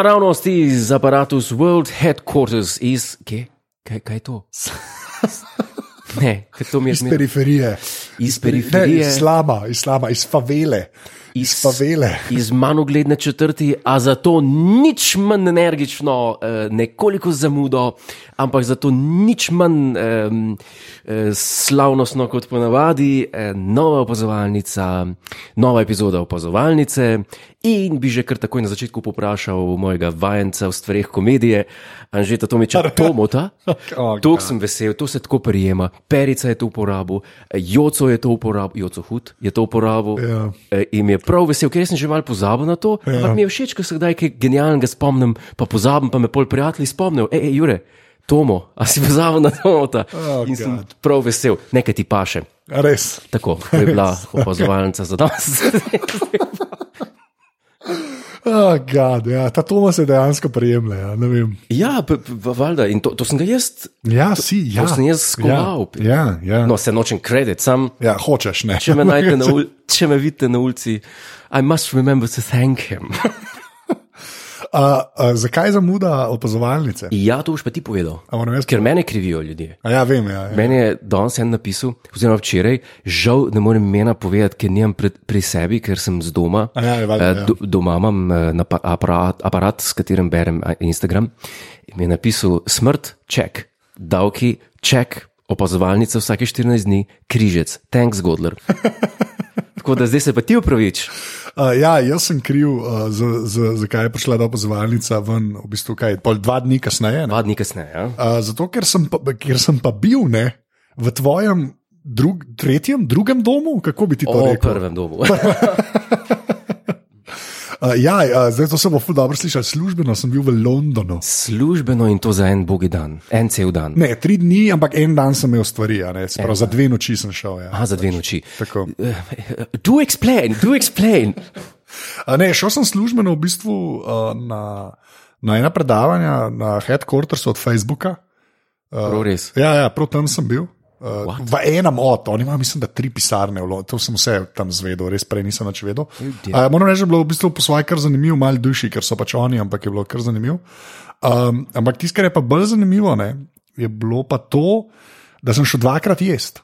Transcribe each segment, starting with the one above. Naravnosti iz aparatus World Headquarters iz. Kje? Kaj, kaj je to? Ne, ker to mi je Iz zmerno. periferije. Iz Ne, periferije, iz slama, iz slama, iz favele. iz, favele. iz manj ugledne četrti, a zato nič manj energično, eh, nekoliko z zamudo, ampak zato nič manj eh, eh, slavnostno kot ponavadi, eh, nova opazovalnica, nova epizoda opazovalnice. In bi že kar takoj na začetku poprašal mojega vajenca v stvareh komedije, Anžeta Tomiča Tomota. Oh, Tok sem vesel, to se tako prijema. Perica je to uporabil, Joco je to uporabil, Joco Hud je to uporabil. Ja. E, In mi je prav vesel, ker jaz sem že malo pozabil na to. Ja. Ja. Ampak mi je všeč, ko se kdaj kaj genialnega spomnim, pa pozabim, pa me pol prijatelji spomnijo, hej, hej, Jure. Tomo, a si pozabil na to? Oh, In sem God. prav vesel, nekaj ti paše. Res. Tako, to je bila opazovalnica za danes. Oh, God, ja. Ta Toma se dejansko prijemlja. Ja. ne vem. ja, p- p- valjda, in to, to sem ga jaz, Ja, si, ja. to sem jaz skoval. Ja, ja. No, se nočem kredit, sam ja hočeš, ne. Če me, najdete na ul- če me vidite na ulici, I must remember to thank him. A, a, zakaj zamuda opazovalnice? ja, to boš pa ti povedal. A moram jaz- Ker mene krivijo ljudje. A Ja, vem, ja. ja. Meni je danes en napisal, oziroma včeraj, žal ne morem imena povedati, ker nimam pri, pri sebi, ker sem z doma. A ja, je valjda, Eh, ja. do- Doma imam eh, napa- aparat, aparat, s katerim berem eh, Instagram. In mi je napisal smrt, ček, davki, ček, opazovalnica vsake 14 dni, križec, thanks, Godler. Tako da zdaj se pa ti upravič. A, ja, jaz sem kriv, a, za- za- zakaj je prišla ta opazovalnica ven, v bistvu kaj, pol dva dni kasneje. ne? Dva dni kasneje. Ja? A, zato, ker sem, pa, ker sem pa bil ne, v tvojem drug, tretjem, drugem domu, kako bi ti to O rekel? prvem domu. A, ja, a, zdaj to se bo ful dobro slišal, službeno sem bil v Londonu. Službeno in to za en bogi dan, en cel dan. Ne, tri dni, ampak en dan sem imel stvari, a ne, se pravi, za dve noči sem šel. Ja. Aha, za dve noči. Tako. Do explain, do explain. A Ne, šel sem službeno v bistvu uh, na, na ena predavanja na headquarters od Facebooka. Prav res. Ja, ja prav tam sem bil. Uh, v enem od, oni imajo, mislim, da tri pisarne, v Lo- to sem vse tam zvedel, res prej nisem več vedel. Uh, moram reči, da je bilo v bistvu po svoje kar zanimivo, malo duši, ker so pač oni, ampak je bilo kar zanimivo. Um, ampak tisto, kar je pa bolj zanimivo, ne, je bilo pa to, da sem šel dvakrat jesti.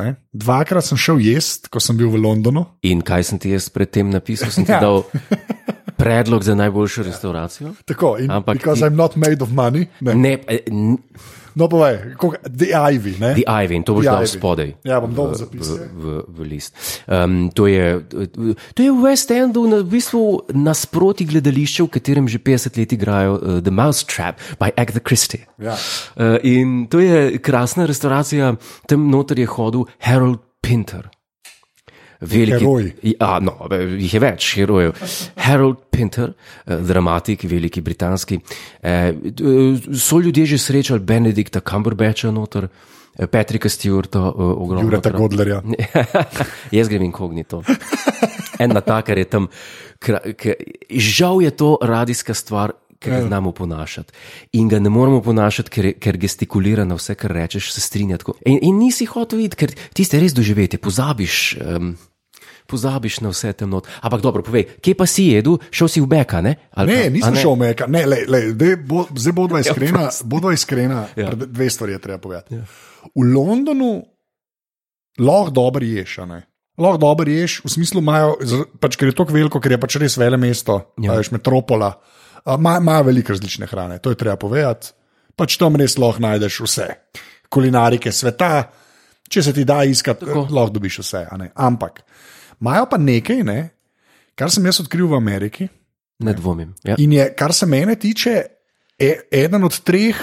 Ne? Dvakrat sem šel jesti, ko sem bil v Londonu. In kaj sem ti jaz predtem napisal? Sem ti Ja. dal predlog za najboljšo restauracijo? Tako, in Ampak because ti- I'm not made of money. Ne. Ne, eh, n- No, povej, koga- the Ivy. Ne? The Ivy, in to boš The dal Ivy. spodaj. Ja, bom dal v v- zapiske. V, v, v list. Um, to, je, eh, to je v West Endu, na, v bistvu nasproti gledališča, v katerem že 50 let igrajo uh, The Mousetrap by Agatha Christie. Ja. Uh, in to je krasna restauracija, tam noter je hodil Harold Pinter. Veliki, Heroj. Ja, no, jih je več herojev. Harold Pinter, eh, dramatik, veliki britanski. eh, eh, So ljudje že srečali Benedikta Cumberbatcha, noter, eh, Patrika Stewarta, eh, ogromno. Jureta krat. Godlerja. Jaz grem inkognito. En natakar je tam. kra- ke- Žal je to radijska stvar. Ker Ja. ga znamo ponašati. In ga ne moremo ponašati, ker, je- ker gestikulira na vse, kar rečeš, se strinja. tako. In, in nisi hotel videti, ker tiste res doživeti, pozabiš, um, pozabiš na vse temnote. Ampak dobro, povej, kje pa si jedel, šel si v Beka? Ne, Ali Ne, pa- a nisem šel meka. Ne, lej, lej, dej, bo, zdaj bodo iskrena. Bodo iskrena Ja. ja. Dve stvari je treba povedati. Ja. V Londonu lahko dobro ješ, a ne. Lahko dobro ješ, v smislu, imajo, z- pač, ker je tako veliko, ker je pač res vele mesto, Ja. ja. veš, metropola. a, Imajo ima veliko različne hrane, to je treba povedati. Pač tam res lahko najdeš vse. Kulinarike sveta, če se ti da iskati, Tako. lahko dobiš vse. a ne. Ampak imajo pa nekaj, ne, kar sem jaz odkril v Ameriki. Ne dvomim. Ja. In je, kar se mene tiče, e, eden od treh,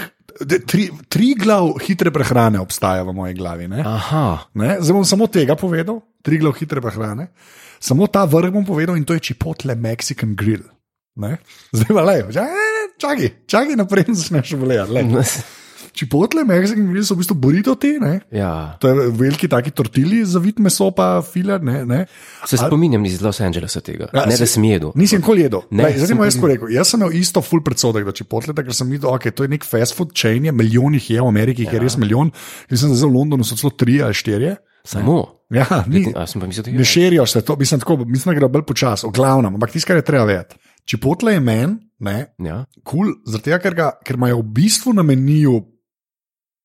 de, tri, tri glav hitre prehrane obstaja v moji glavi. Ne? Aha, Ne? Zdaj bom samo tega povedal, tri glav hitre prehrane. Samo ta vrh bom povedal in to je Chipotle Mexican Grill. Ne? Zdaj pa lejo, čakaj, čakaj naprej, da začneš gledati. Chipotle Mexican Grill so v bistvu burito te, ne? ja. To je veliki taki tortili, zavit meso pa filer, ne. ne? se spominjam iz Los Angelesa tega. Ja, ne, da si- sem jedel. Nisem nikoli jedel. Ne, Lej, Zdaj sem bom jaz tako rekel. Jaz sem imel isto full predsodek, da če potlete, ker sem videl, da okay, to je nek fast food chain, je milijon jih je v Ameriki, ja. je res milijon. Jaz sem zdaj v Londonu, so celo tri ali štirje. Samo. Ja, ni, A sem pa mislil, da je ne širijo se to, mislim, tako, mislim da gre bolj počasi, o glavnem, ampak tisto, kar je treba vedeti. Čipotle je meni Ne? Ja. Kul, cool, zaradi tega, ker, ga, ker imajo v bistvu na meniju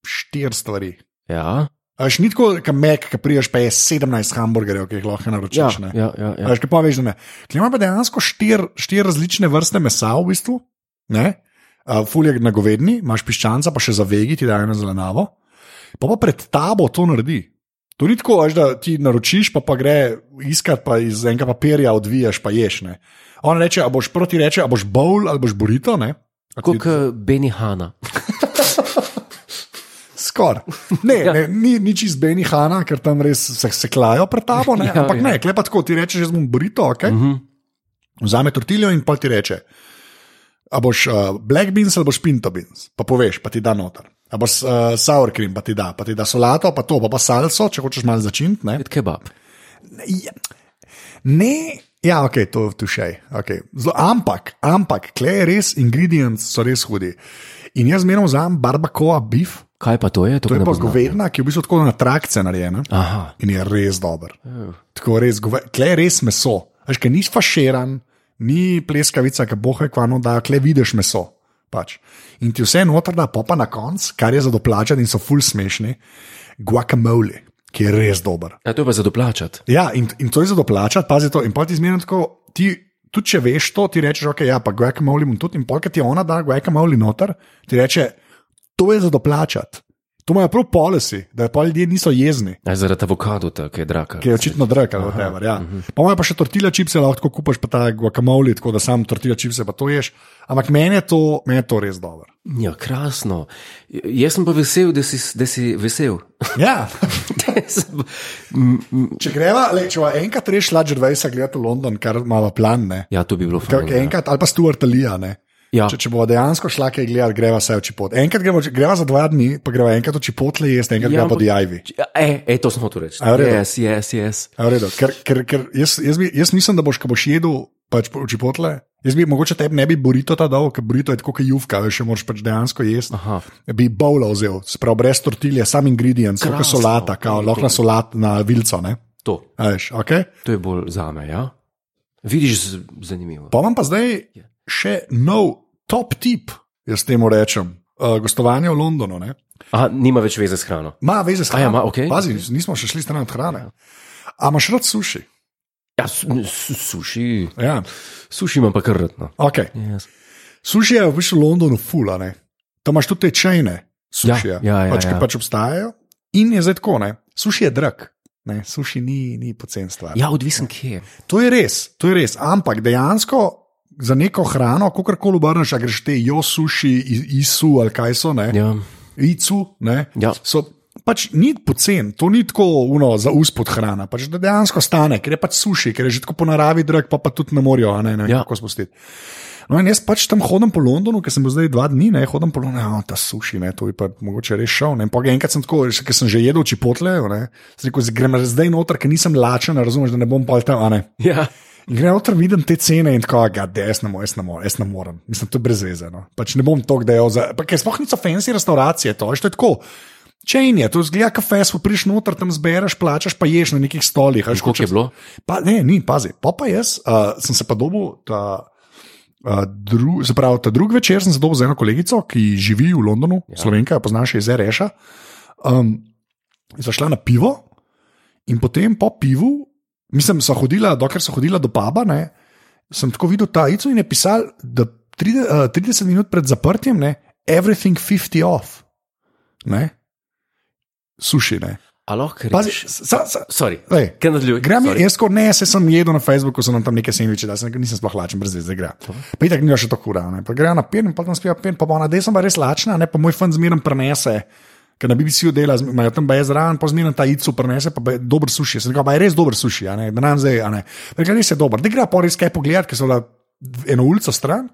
štiri stvari. Ja. A Še ni tako, kot Mek, ki priješ, pa je 17 hamburgerjev, ki jih lahko Ja, naročiš. ne. ja, ja, A ja. Veš, kaj pa veš, da ne. Klej ima pa dejansko štiri štir različne vrste mesa, v bistvu. ne. A, Ful je na govedni, imaš piščanca, pa še za vegi ti dajo na zelenavo. Pa pa pred tabo to naredi. To ni tako, veš, da ti naročiš, pa, pa gre iskat, pa iz enega papirja odviješ, pa ješ. Ne? On reče, a boš proti reče, a boš bowl ali boš burito. ne?" A ti- Kot uh, Beni Hanna. Skoraj. Ne, Ja. ne, ni, ni čist Beni Hanna, ker tam res se seklajo pred tabo. Ne? Ja, Ampak ja. Mhm. ne, klepa tako, ti rečeš, jaz bom burito, okay? uh -huh. vzame tortiljo in pol ti reče. A boš uh, black beans ali boš pinto beans, pa poveš, pa ti da noter. A boš uh, sour cream, pa ti da, pa ti da solato, pa to, pa pa salso, če hočeš malo začint. Ne, Kot kebab. Ja. ne ja, ok, to tu še. Okay. Zelo- Ampak, ampak, klej res, ingredients so res hudi. In jaz zmerno vzamem barbacoa beef. Kaj pa to je? To, To je pa govedina, ki je v bistvu tako na trakce narejena Aha. in je res dober. Tako res, gove- tle je res meso. Veš, ki ni faširan, ni pleskavica, ki bohe kvano no da, tle vidiš meso. Pač. In ti vse noter da, pa pa na koncu, kar je za doplačati in so ful smešni, guacamole, ki je res dober. Ja, to je pa za doplačati. Ja, in, in to je za doplačati, pazi to. In pa ti zmerno tako, ti, tudi če veš to, ti rečeš, ok, ja, pa guacamole bom tudi, in polka ti ona da guacamole noter, ti reče, to je za doplačati. To imajo prav policy, da pa ljudje niso jezni, Ja, zaradi avokado, ki je draga. ki je očitno drag ali whatever. Ja. Pa imajo pa še tortila čipse, lahko tako kupaš pa ta guacamole, tako da sam tortila čipse pa to ješ. Ampak meni je to, meni je to res dobro. Ja, krasno. J- Jaz sem pa vesel, da si, da si vesel. Ja. Sem pa- M, m, če greva, le, če va enkrat reš Ladžer 20 gledati v London, kar ima plan, ne. ja, to bi bilo Kaj, fajn. kaj, enkrat, ali pa Stuart Alija. Ja. Ja. Če, če bomo dejansko šla kaj gledati, greva se v Čipotle. Enkrat greva, greva za dva dni, pa greva enkrat v Čipotle, jaz Ja, enkrat ja, greva po ampak- Dijajvi. Ja, E, e, to sem hotel reči. A, v redu. Jaz, jaz, jaz. A, v redu, Ker, ker, ker jaz, jaz, bi, jaz mislim, da boš, ko boš jedel pač po- v Čipotle, jaz bi mogoče tebi ne bi burito ta dal, ker burito je tako kot juvka, veš, jo moraš pač dejansko jesti. Ja, Aha. Bi bowla vzel, sprav brez tortilje, sam ingredient, kot Krasno, solata, kao, ok, lahko na solat na vilco, ne? To, A, veš, okay? to je bolj za me. Ja? Vidiš, z- zanimivo. Pa vam pa zdaj še nov top tip, jaz temu rečem, uh, gostovanje v Londonu, ne? Aha, nima več veze s hrano. Ma, veze s A ja, hrano. ma, okej. Pazi, nismo še šli stran od hrane. A imaš rad suši? Ja, su- n- su- suši, Ja. suši imam pa kar rtno. Okay. Yes. Suši je v bistvu v Londonu fula, ne. Tam imaš tudi te čajne Ja, sušije, ja, ja, pač, ki ja. pač obstajajo. In je zdaj tako, ne. Suši je drag. Ne, suši ni, ni pocen stvar. Ja, odvisen kje. To je res, to je res. Ampak dejansko za neko hrano, kako koli obrneš, a greš te jo suši, i- isu ali kaj so, ne. Ja. ICU. ne, Ja. So, pač ni pocen, to ni tako uno, za uspod hrana, pač da dejansko stane, ker je pač suši, ker je že tako po naravi drag, pa, pa tudi ne morajo, a ne, Ja. ne ja. kako spustiti. No, in jaz pač tam hodim po Londonu, ker sem bil zdaj dva dni, ne hodim po Londonu, no, ta suši, ne, to bi pa mogoče res šel. Ne. In pol Enkrat sem tako, ker sem že jedel čipotle, ne, sem rekel, grem zdaj noter, ker nisem lačen, razumeš, da ne bom pa tam, a ne. Ja. In grem noter, vidim te cene in tako, da jaz ne morem, jaz ne morem, jaz ne morem. Mislim, to je brez veze. No. Pač ne bom to dejal, za- pa ker sploh niso fancy restauracije, to je, to je tako. Če in je, to zgleda kafe, smo prišli noter, tam zbereš, plačaš, pa ješ na nekih stolih. a veš, Koliko je hočeš- bilo? Pa, ne, ni, pazi. Pa pa jaz uh, sem se pa dobil, ta, uh, dru, se pravi, ta drugi večer sem se dobil z eno kolegico, ki živi v Londonu, ja. slovenka, jo poznaš še iz Reša. Um, sva šla na pivo in potem po pivu, mislim, so hodila, dokler so hodila do puba, ne, sem tako videl ta ico in je pisal, da 30, uh, 30 minut pred zaprtjem, ne, everything 50 off. Ne? Suši, ne. A lahko Pazi, rečeš. sa, sa, Sorry. lej, Kaj nadaljuj? Grem je, Sorry. jaz kot ne, saj sem jedel na Facebooku, sem tam nekaj sendviče, da sem rekel, nisem sploh lačen, brez zdaj gre. Pa itak ni še tako urano. Gre na pijen, pa tam spijo pijen, pa bo na desno, pa res lačna, ne pa moj fan zmeren prenese. Ker na BBC-ju dela, zm- imajo tam brez ran, pa zmeren ta icu prenese, pa je dober suši. Sem rekel, pa je res dober suši, a ne, da nam zdaj, a ne. Rekel, res je dober, da gre pa res kaj pogledati, ker so bila eno ulico stran,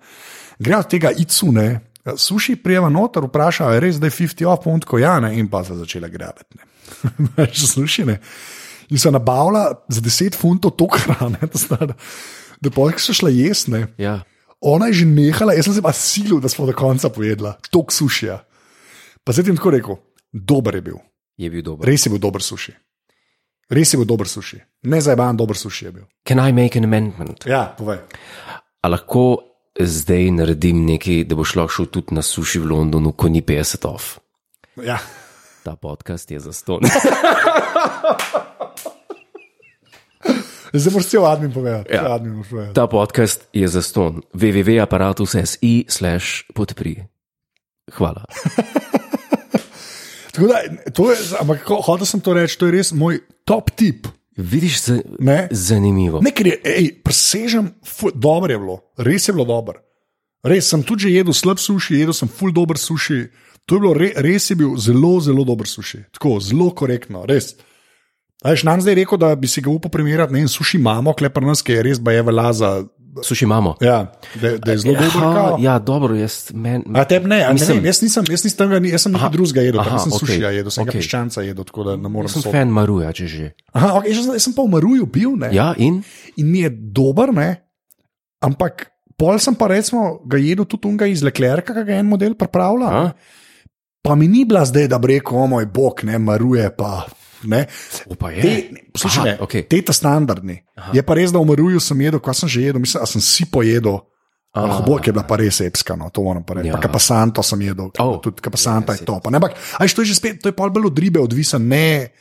gre od tega icu, ne. Suši prijeva noter, vpraša, "A je res, da je 50 off, puntko, ja, ne, in pa se začela grabiti. ne. Suši, ne in so nabavila za 10 funtov to hrane, da stane. Da pojk so šla jesne. Ja. Ona je že nehala, jaz sem se pa silil, da smo do konca pojedla, tok sušija. Pa zdaj jim tako rekel, dober je bil, Je bil dober. res je bil dober suši. Res je bil dober suši, ne zabavan dober suši je bil. Can I make an amendment? Ja, povej. A lahko zdaj naredim nekaj, da bo šlo šel tudi na suši v Londonu, ko ni 50 off. Ja. Ta podcast je za ston. Zdaj moraš cel admin povedati. Ja. Ja. Admin moraš povedati. Ta podcast je za ston. www.apparatus.si slash podpri. Hvala. Tako da, to je, ampak ko- hotel sem to reči, to je res moj top tip. Vidiš, za, Ne? zanimivo. Ne, ker je, ej, presežem, ful- dobro je bilo, res je bilo dobro. Res sem tudi že jedel slab suši, jedel sem full dober suši. To je bilo re, res je bil zelo, zelo dober suši. Tako, zelo korektno, res. Ajš nam zdaj rekel, da bi si ga upal primerjati, ne vem, suši imamo, klepar nas, ki je res baje vela za. Suši imamo. Ja, da, da je zelo dober. Aha, kao. ja, dobro, jaz men. A te ne, a ne Mislim- vem, jaz nisem, jaz nisem tega, ni- jaz sem nekaj drugega jedel, aha, tam sem okej, okay, sušija jedel, sem okay. okej. ga piščanca jedel, tako da ne morem Sem soditi. fan Maruja, če že. Aha, okay, jaz, sem- jaz sem pa v Maruju bil, ne. Ja, in in mi je dober, ne? ampak pol sem pa recimo ga jedel tudi unga iz Leclerca, ki ga je en model pripravlja. A? Pa mi ni bila zdaj, da bi rekel, o moj bog, ne maruje pa. Ne? opa je. Te, ne, Aha, poslušaj, Aha, okej. okay. te ta standardni. Aha. Je pa res, da v Maruju sem jedel, kaj sem že jedel, mislim, da sem si pojedel. Aha. Lahko je bila pa res epska, no, to moram pa reči. Ja. Ja. Kapasanto sem jedel, Oh. oh, tudi kapasanta Ja, je to. pa ne, Ampak, aj to je že spet, to je pa bolj od ribe odvisen, ne,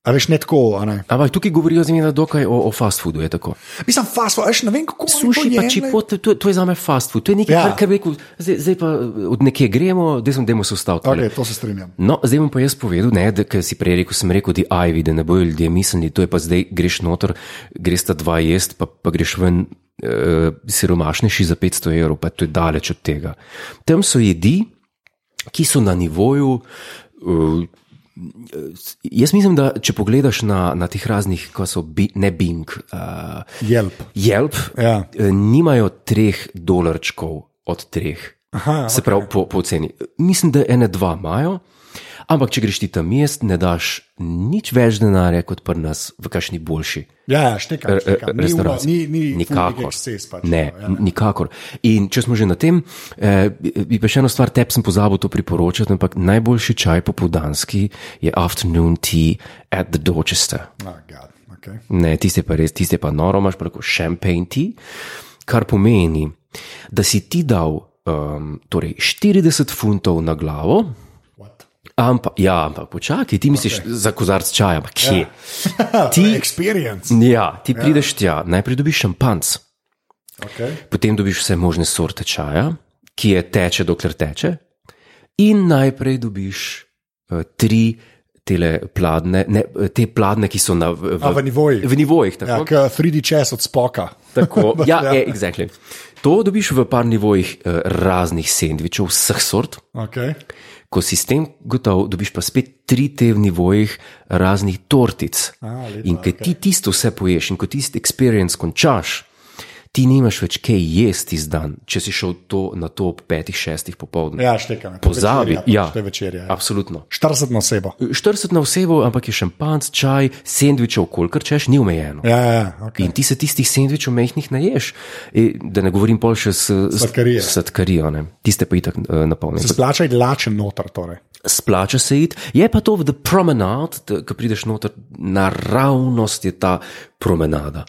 a veš, ne tako. a Ne. Ampak tukaj govorijo z njim dokaj o, o fast foodu, je tako. Mislim, fast, food, a veš, ne vem kako. oni to Suši pa jemljejo. čipote, to, je- to je za me fast food. To je nekaj, ja. Ja. kar, kar bi rekel, zdaj, zdaj pa od nekje gremo, zdaj sem demo se ustavil. tole. Ok, to se strinjam. No, zdaj bom pa jaz povedal, ne, da ker si prej rekel, sem rekel, di ajvi, da ne bojo ljudje mislili, to je pa zdaj greš noter, greš ta dva jest, pa, pa greš ven uh, siromašnejši za 500 evrov, pa to je daleč od tega. Tam so jedi, ki so na nivoju. Uh, jaz mislim, da če pogledaš na, na teh raznih, kot so bi, ne Bing, uh, Jelp. Yelp, Ja. eh, nimajo treh dolarčkov od treh. Aha, ja, Se pravi, po, po ceni. Mislim, da ene dva imajo, ampak če greš ti tam mest, ne daš nič več denarja kot pri nas, v kakšni boljši Ja, ja štekam, eh, štekam. Ni, uno, restavraciji. ni, ni nikakor. Exces, pač, ne, no, ja. nikakor. In če smo že na tem, eh, bi- bi pa še eno stvar, tebi sem pozabil to priporočati, ampak najboljši čaj popoldanski je afternoon tea at the Dorchester. Ah, God, okay. Ne, tiste pa res, tiste pa noro, imaš pa lahko champagne ti, kar pomeni, da si ti dal um, torej 40 funtov na glavo. What? Ampak, ja, ampak počakaj, ti misliš okay. za kozarc čaja, ampak Ja. kje? Ti... Ti, Ah, Experience. ja, ti prideš tja, najprej dobiš šampanc, Okay. potem dobiš vse možne sorte čaja, ki je teče, dokler teče, in najprej dobiš uh, tri tele pladne, ne, eh, te pladne, ki so na, v, A, Ah, v nivojih. V nivojih, tako. Ja, k 3D čas od spoka. Tako, ja, ja. Ja. E, exactly. To dobiš v par nivojih eh, raznih sendvičev, vseh sort. Okay. Ko si s tem gotov, dobiš pa spet tri te v nivojih raznih tortic. A, lepa, in ko ti tisto vse poješ in ko tisti experience končaš, ti nimaš več kaj jesti iz dan, če si šel to na to ob petih, šestih popovdne. Ja, štekam. to je Pozabi, večerja, pač, ja, To je večerja. Ja. Absolutno. 40 na osebo. 40 na osebo, ampak je šampanc, čaj, sendvičev, kolikor češ, ni omejeno. Ja, ja, ja, okay. In ti se tistih sendvičev mehkih naješ, E, da ne govorim pol še s s- Sladkarije. s Sladkarijo, ne. tiste pa itak eh, napolnjene. Se splača iti lačen noter. Torej. Splača se id, je pa to v The Promenade, t- ko prideš noter, naravnost je ta promenada,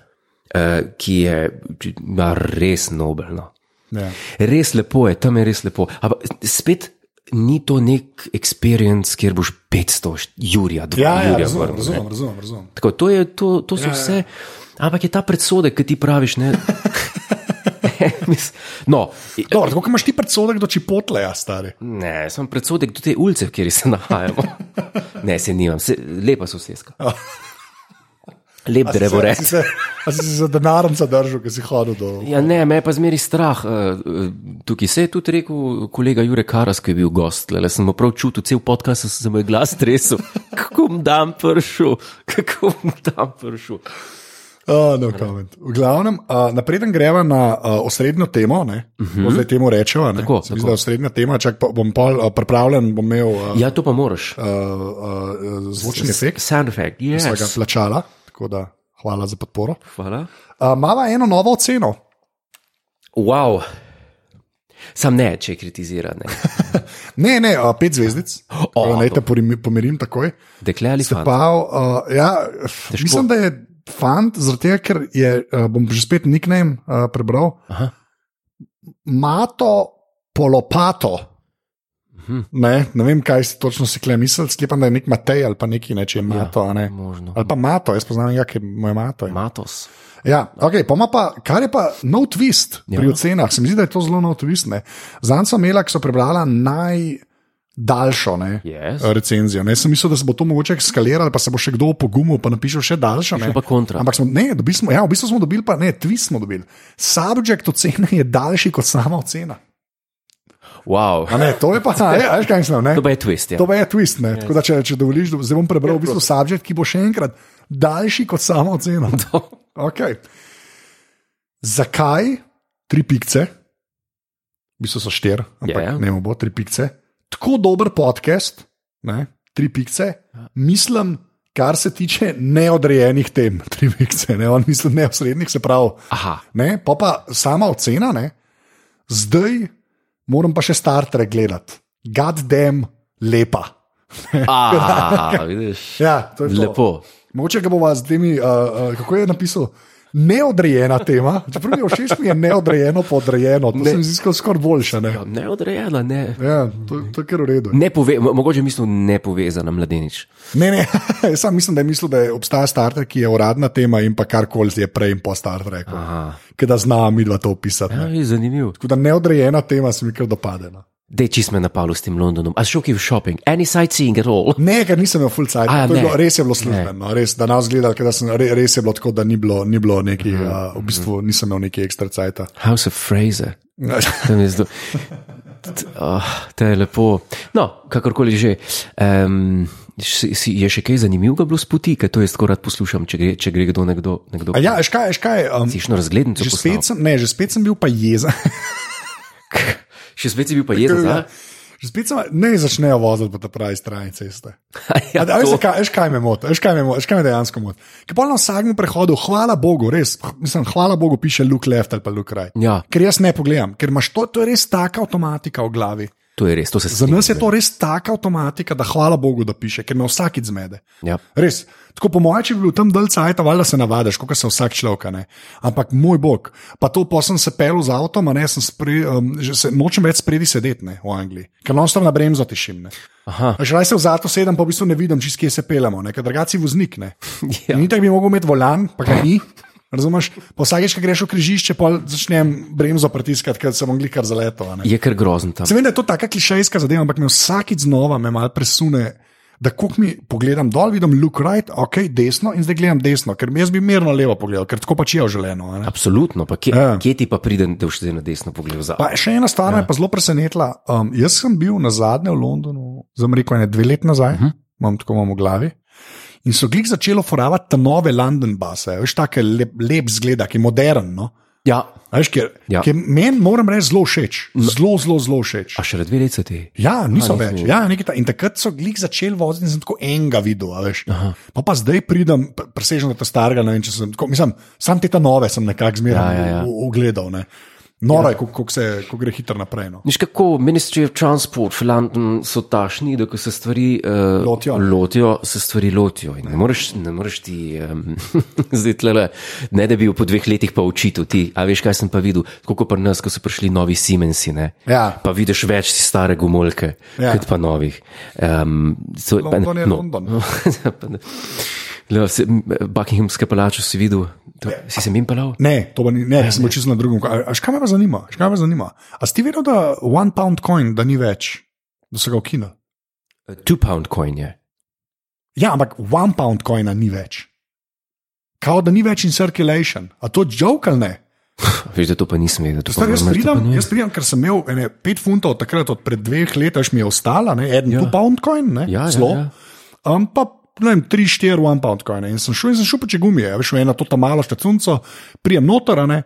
eh, ki je či- ma, res nobelna. Ja. Res lepo je, tam je res lepo. Ampak spet ni to nek experience, kjer boš 500 št- jurja, 2 Ja, ja, jurja razumem, vrnil, ne. razumem, razumem, razumem. Tako, to, je, to, to so ja, vse, ampak je ta predsodek, ki ti praviš. Ne, Mis- no, i- Dobro, tako kot imaš ti predsodek do čipotleja, stari. ne, sem predsodek do te ulice, v kateri se nahajamo. Ne, se nimam, se, lepa soseska. Lep drevo Oh. A si reči. se- a si se za denarjem zadržal, ker si hodil do. Ja, ne, me je pa zmeri strah. eh, eh, Tukaj se je tudi rekel kolega Jurek Karas, ki je bil gost. Le sem mu prav čutil, cel podcast sem se moj glas tresel. Kako bom tam pršel, kako bom tam pršel. Uh, no comment. v glavnem, uh, napreden greva na uh, osrednjo temo, ne, uh -huh. zdaj temu rečemo. Mhm. Tako, tako. Mislim, osrednja tema, čak pa bom pol, uh, pripravljen, bom imel uh, Ja, to pa moraš. uh, uh, zvočni efekt, Sound effect, ki sva ga yes. plačala, tako da hvala za podporo. Hvala. Uh, Mava eno novo oceno. Wow. Sam ne, če je kritiziran. ne. Ne, ne, uh, pet zvezdic, O, oh, naj te porim- pomirim takoj. Dekle ali Se fant? pa, uh, ja, f- mislim, da je fant, zaradi tega, ker je, uh, bom že spet nickname uh, prebral. Aha. mato polopato. Hm. Ne, ne vem, kaj si točno si kle mislil, sklepam, da je nek Matej ali pa neki neče je mato. Ja, ne. možno. Ali pa mato, jaz poznam nekaj, ki mu je mato. ime. Matos. Ja, okay, pa ima pa, kar je pa nov twist ja. pri ocenah. Se mi zdi, da je to zelo nov twist. ne. Zanj so imela, ki so prebrala najdaljšo ne, Yes. recenzijo. Ne. Jaz Sem mislil, da se bo to mogoče skaliralo, pa se bo še kdo pogumil, pa napišel še daljšo. ne. Še pa kontra. Ampak smo, ne, dobili smo, ja, v bistvu smo dobili, pa ne, twist smo dobili. Subjekt ocene je daljši kot sama ocena. Wow. A Ne, to je pa, ne, veš kaj mislim. ne? Ja. To pa je twist. Ja. Eh? To pa je twist. Ne? Tako da, če, če dovoliš, da- zdaj bom prebral v bistvu subjekt, ki bo še enkrat daljši kot sama ocena. Okay. Zakaj tri pikce, v bistvu so štiri, ampak Ja, ja. yeah. ne vem, bo tri pikce, tako dober podcast, ne? tri pikce, mislim. Kar se tiče neodrejenih tem, tri pikce, ne, on misli neosrednjih, se pravi, Aha. ne, pa pa sama ocena, ne, zdaj moram pa še Star Trek gledati. God damn, lepa. A, Ah, vidiš. Ja, to je to. Lepo. Mogoče ga bova z temi, uh, uh, kako je napisal, neodrejena tema. Čeprav mi je všeč, mi je neodrejeno, podrejeno. To ne. sem získal skoraj boljše. Ne? Ja, Neodrejena, ne. Ja, to, to je kar v redu. ne pove, mo- mogoče mislim nepovezana mladenič. Ne, ne, jaz sam mislim, da je mislil, da je obstaja Star Trek, ki je uradna tema in pa karkoli je prej in po Star Treku. Aha. Ker da znam midva to opisati. Ja, ne. je zanimiv. Tako da neodrejena tema se mi kar dopade. No. Dej čist me napalo s tem Londonom. A šel ki v shopping? Any sightseeing at all? Ne, ker nisem imel full cajt. A, ne. Res je bilo službeno, res, da nas gledali, ker da sem, re, res je bilo tako, da ni bilo, ni bilo neki, Mhm, mm -hmm. uh, v bistvu nisem imel neki ekstra cajta. House of Fraser. Tam je zdo... oh, to je lepo. No, kakorkoli že. Um, si, si je še kaj zanimivega bilo s poti, ker to jaz tako rad poslušam, če gre, če gre kdo nekdo. nekdo A Ja, veš kaj, veš kaj. Um, Tišno razglednico. Že poslal. spet, sem, ne, že spet sem bil pa jezen. Ja. Še spet si bil pa jezen, ja? da? že spet sem, ne začnejo voziti po ta pravi strani ceste. Ja, A, a, veš, to- zakaj- veš, kaj me moti, veš, kaj me moti, veš, kaj me dejansko moti. Ker pa na vsakem prehodu, hvala Bogu, res, h- mislim, hvala Bogu piše Luke left ali pa Luke right. Ja. Ker jaz ne pogledam, ker imaš to, to je res taka avtomatika v glavi. to je res, to se Za strinjam. nas je to res taka avtomatika, da hvala Bogu, da piše, ker me vsakič zmede. Ja. Res. Tako po mojem, če bi bil tam dol cajt, valjda se navadiš, kot se vsak človek. a ne. Ampak moj bog, pa to posem se pel z avtom, a ne sem spri, um, že se, nočem več spredi sedeti ne, v Angliji, ker nočem na bremzo tišim. Aha. Že raje se v zadnjem sedem, pa v bistvu ne vidim, čez kje se pelemo, ker drugače voznik ne. Ja. Ja. Ni tako bi mogel imeti volan, pa ga ni. Razumeš, pa vsakeč, ko greš v križišče, pa začnem bremzo pritiskati, ker sem anglikar zaletel. a ne. Je kar grozen tam. Se vem, da je to taka klišejska zadeva, ampak me vsakič znova me malo presune. Da, ko mi pogledam dol, vidim look right, ok, desno in zdaj gledam desno, ker jaz bi mirno levo pogledal, ker tako pač je želeno. a ne. Absolutno, pa kje, Ja. kje ti pa pride, da boš zdaj na desno pogledal za? Pa še ena stvar me je pa zelo presenetila. Um, jaz sem bil na zadnje v Londonu, zelo rekel, ne dve leti nazaj, uh -huh. imam tako imam v glavi. In so glih začelo foravati te nove London base, veš, take lep, lep zgled, ki je modern. No? Ja, A Veš, ker, Ja. ja. ker meni moram reči zelo všeč, zelo, zelo, zelo všeč. a še dve leti so ti. Ja, A, niso niso več. več. Ja, nekaj ta, in takrat so glih začeli voziti in sem tako enega videl. a veš. Pa, pa zdaj pridem, pr- presežem ta starega. ne vem, če Sem, tako, mislim, sam te ta nove sem nekako zmeraj Ja, ja, ja. ogledal. Ne. Noro je, kako se ko gre hitro naprej. No. Niš kako Ministry of Transport v London so tašni, da ko se stvari uh, Lotijo. lotijo, se stvari lotijo. In Ne moreš, ne moreš ti um, zdaj tle, ne da bi jo po dveh letih pa učil ti. A veš, kaj sem pa videl, tako kot pri nas, ko so prišli novi Siemensi. Ne? Ja. Pa vidiš več si stare gumolke, ja. Ja. kot pa novih. Um, so, London je no. London. Pa ne. Le, se, Buckinghamske palače si videl, to, Ja. si se jim pelal? Ne, to pa ni, Ja, ne, sem bil čisto na drugem. A, a škaj me pa zanima? a Škaj me pa zanima? A si ti vedel, da one pound coin, da ni več, da so ga ukinili? Two pound coin je. Ja, ampak one pound coina ni več. Kao da ni več in circulation. A to joke ali ne? Veš, da to pa nisem vedel. to pa Star, jaz, moram reči, to pa pridem, ne. jaz pridem, ker sem imel ene, pet funtov takrat, od pred dveh let, až mi je ostala, ne, en ja. pound coin, ne, Ja, ja, zelo. ja. Um, pa ne vem, tri, štiri one pound coin. In sem šel in sem šel poče gumije, a veš, v eno to ta malo štacunco, prijem noter, a ne.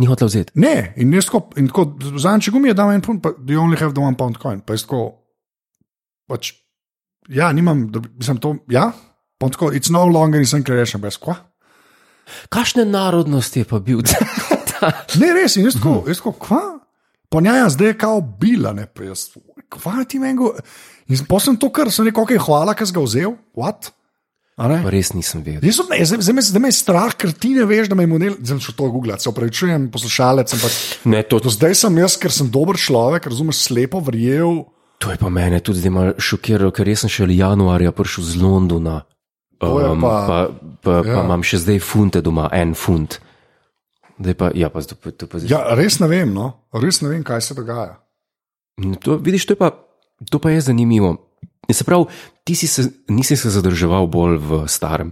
Ni hotel vzeti. Ne, in jaz tako, in tako zanče gumije dam en punt, pa you only have the one pound coin. Pa jaz tako, pač, ja, nimam, da, bi- mislim to, ja, pa tako, it's no longer in sem krešen, brez kva. Kakšne narodnosti je pa bil? Ne, res, in jaz tako, jaz tako, kva, pa njaja, zdaj je kao bila, ne, pa jaz, kva ti meni go. In potem to, kar sem rekel, ok, hvala, ker si ga vzel, what? A ne? Pa res nisem vedel. Jaz sem, jaz, zdaj, me- zdaj me je strah, ker ti ne veš, da me je model. Zdaj če to googlati, se opravičujem, poslušalec. Ampak Ne, to, do zdaj sem jaz, ker sem dober človek, razumeš, slepo verjel. to je pa mene tudi zdaj malo šokiralo, ker jaz sem šele januarja prišel z Londona. To je pa, pa- pa, pa, ja. pa ja. imam še zdaj funte doma, en funt. Zdaj Pa, ja, pa, zdaj pa, to pa, ja. Ja, res ne vem, no? res ne vem, kaj se dogaja. to, vidiš, to, je pa, to pa je zanimivo. Se pravi, ti si se, nisi se zadrževal bolj v starem.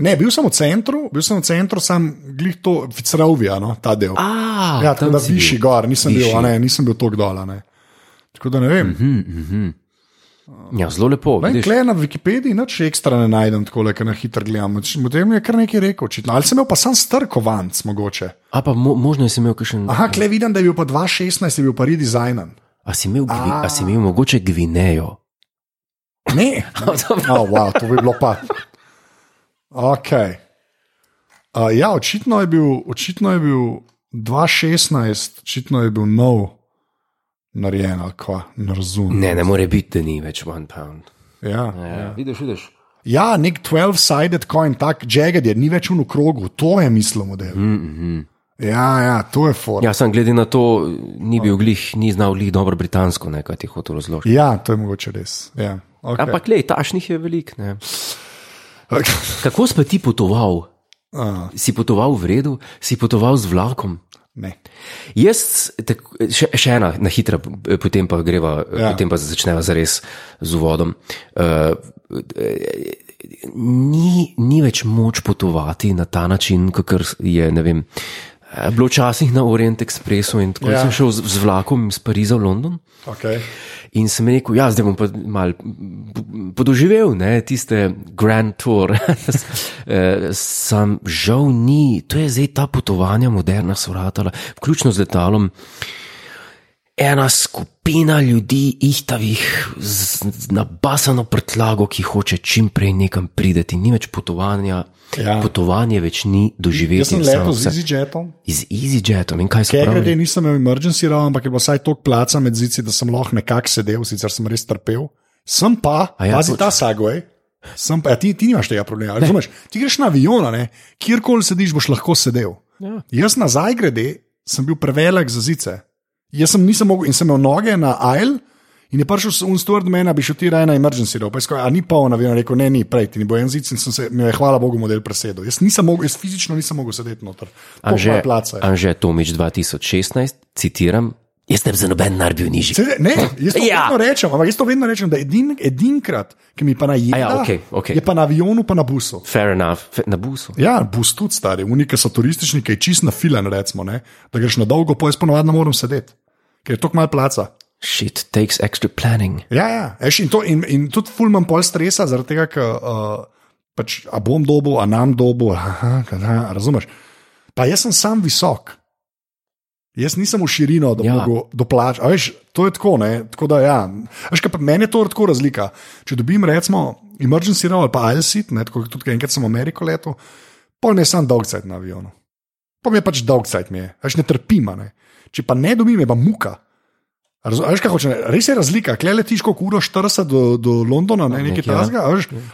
Ne, bil sem v centru, bil sem v centru, sam glih to, Fitzrovija, no, ta del. A, ja, tako da si bil. višji gor, nisem Višji. bil, a ne, nisem bil tako dol. a ne. Tako da ne vem. Mhm, mhm. Ja, zelo lepo. Ne, vidiš. Klej na Wikipediji nič ekstra ne najdem, tako le, ker na hitro gledam. Potem je kar nekaj rekel, očitno. Ali sem imel pa sam strkovanc, mogoče. A pa mo, možno si imel kakšen. Aha, klej vidim, da je bil pa 2016, je bil pa redizajnan. A si imel, gvi, a A. si imel mogoče Gvinejo? Ne, No, oh, wow, to bi bilo pa. Okay. Uh, ja, očitno je, bil, očitno je bil 2016, očitno je bil nov, narejen ali kva, ne razumem. Ne, ne more biti, da ni več one pound. Ja. Ja, vidiš, vidiš. ja, nek 12-sided coin, tak jagged je, ni več v krogu, to je mislimo, da je. Mm -hmm. Ja, ja, to je for. Ja. Ja, sem glede na to, ni bil glih, ni znal glih dobro britansko, ne, kaj ti je hotel razložiti. ja, to je mogoče res. Ja, okay. Ampak, le, tašnih je veliko. ne. Okay. Kako si pa ti potoval? Uh, Si potoval v redu, si potoval z vlakom? ne. Jaz, tak, še, še ena na hitro, eh, potem pa greva, ja. Ja. potem pa začneva zares z uvodom. Uh, ni, ni več moč potovati na ta način, kot je, ne vem. eh, Bilo včasih na Orient Expressu in tako ja. Ja. sem šel z, z vlakom iz Pariza v London. Okay. In sem rekel, ja, zdaj bom pa mal p- podoživel ne, tiste Grand Tour. Eh, Sam žal ni, to je zdaj ta potovanja moderna sovratala, vključno z letalom. Ena skupina ljudi, ihtavih, z z nabasano prtljago, ki hoče čim prej nekam priti, ni več potovanja, Ja. potovanje več ni doživetje. Jaz sem samo lepo z vse. EasyJetom. z EasyJetom in kaj se Ker pravi. glede nisem imel emergency row, ampak je bilo vsaj toliko placa med zici, da sem lahko nekako sedel, sicer sem res trpel. Sem pa, A ja, ja, pazi točno. ta sagoj. Sem pa, ja, ti, ti nimaš tega problema, a razumeš? Ti greš na avion, a ne, kjerkoli sediš, boš lahko sedel. Ja. Jaz nazaj grede sem bil prevelik za zice. Jaz sem nisem mogel in sem imel noge na aisle. In je prišel s- un stvar do mene, bi šel ti raje na emergency row, pa je skoj, a ni poln avion, rekel, ne, ni, prej ti ni bo en zic in sem se, mi je hvala Bogu, model presedel. Jaz nisem mogel, jaz fizično nisem mogel sedeti noter. Anže, Anže, placa. ja. Anže Tomič 2016, citiram: Jaz ne bi za noben denar bil nižji. Seveda, ne, jaz to Ja. ja. vedno rečem, ampak jaz to vedno rečem, da edin, edinkrat, ki mi pa najde, A ja, okej, okej. je pa na avionu, pa na busu. Fair enough, Fe- na busu. Ja, bus tudi stari, unika so turistični, ki je čist na filen, recimo, ne? da greš na dolgo, pa jaz ponovadi ne morem sedeti, ker je tako malo placa. Shit takes extra planning. Ja, ja. Eš, in, to, in, in tudi ful imam pol stresa, zaradi tega, ker uh, pač, a bom dobil, a nam dobil, aha, kada, razumeš. Pa jaz sem sam visok. Jaz nisem v širino, da bi Ja. ja. lahko doplačal. A Veš, to je tako, ne? Tako da, ja. Veš, kaj pa meni je to tako razlika. Če dobim, recimo, emergency row ali pa ILSIT, ne, tako kot tudi enkrat sem v Ameriko letel, pa ne sem dolgcajt na avionu. Pa mi je pač dolgcajt, mi je, veš, ne trpim. a Ne? Če pa ne dobim, je pa muka. Razu- a Veš, kaj hoče? Res je razlika. Klej letiš kot uro 40 do, do Londona, ne Nekaj, nekaj ja. tasga.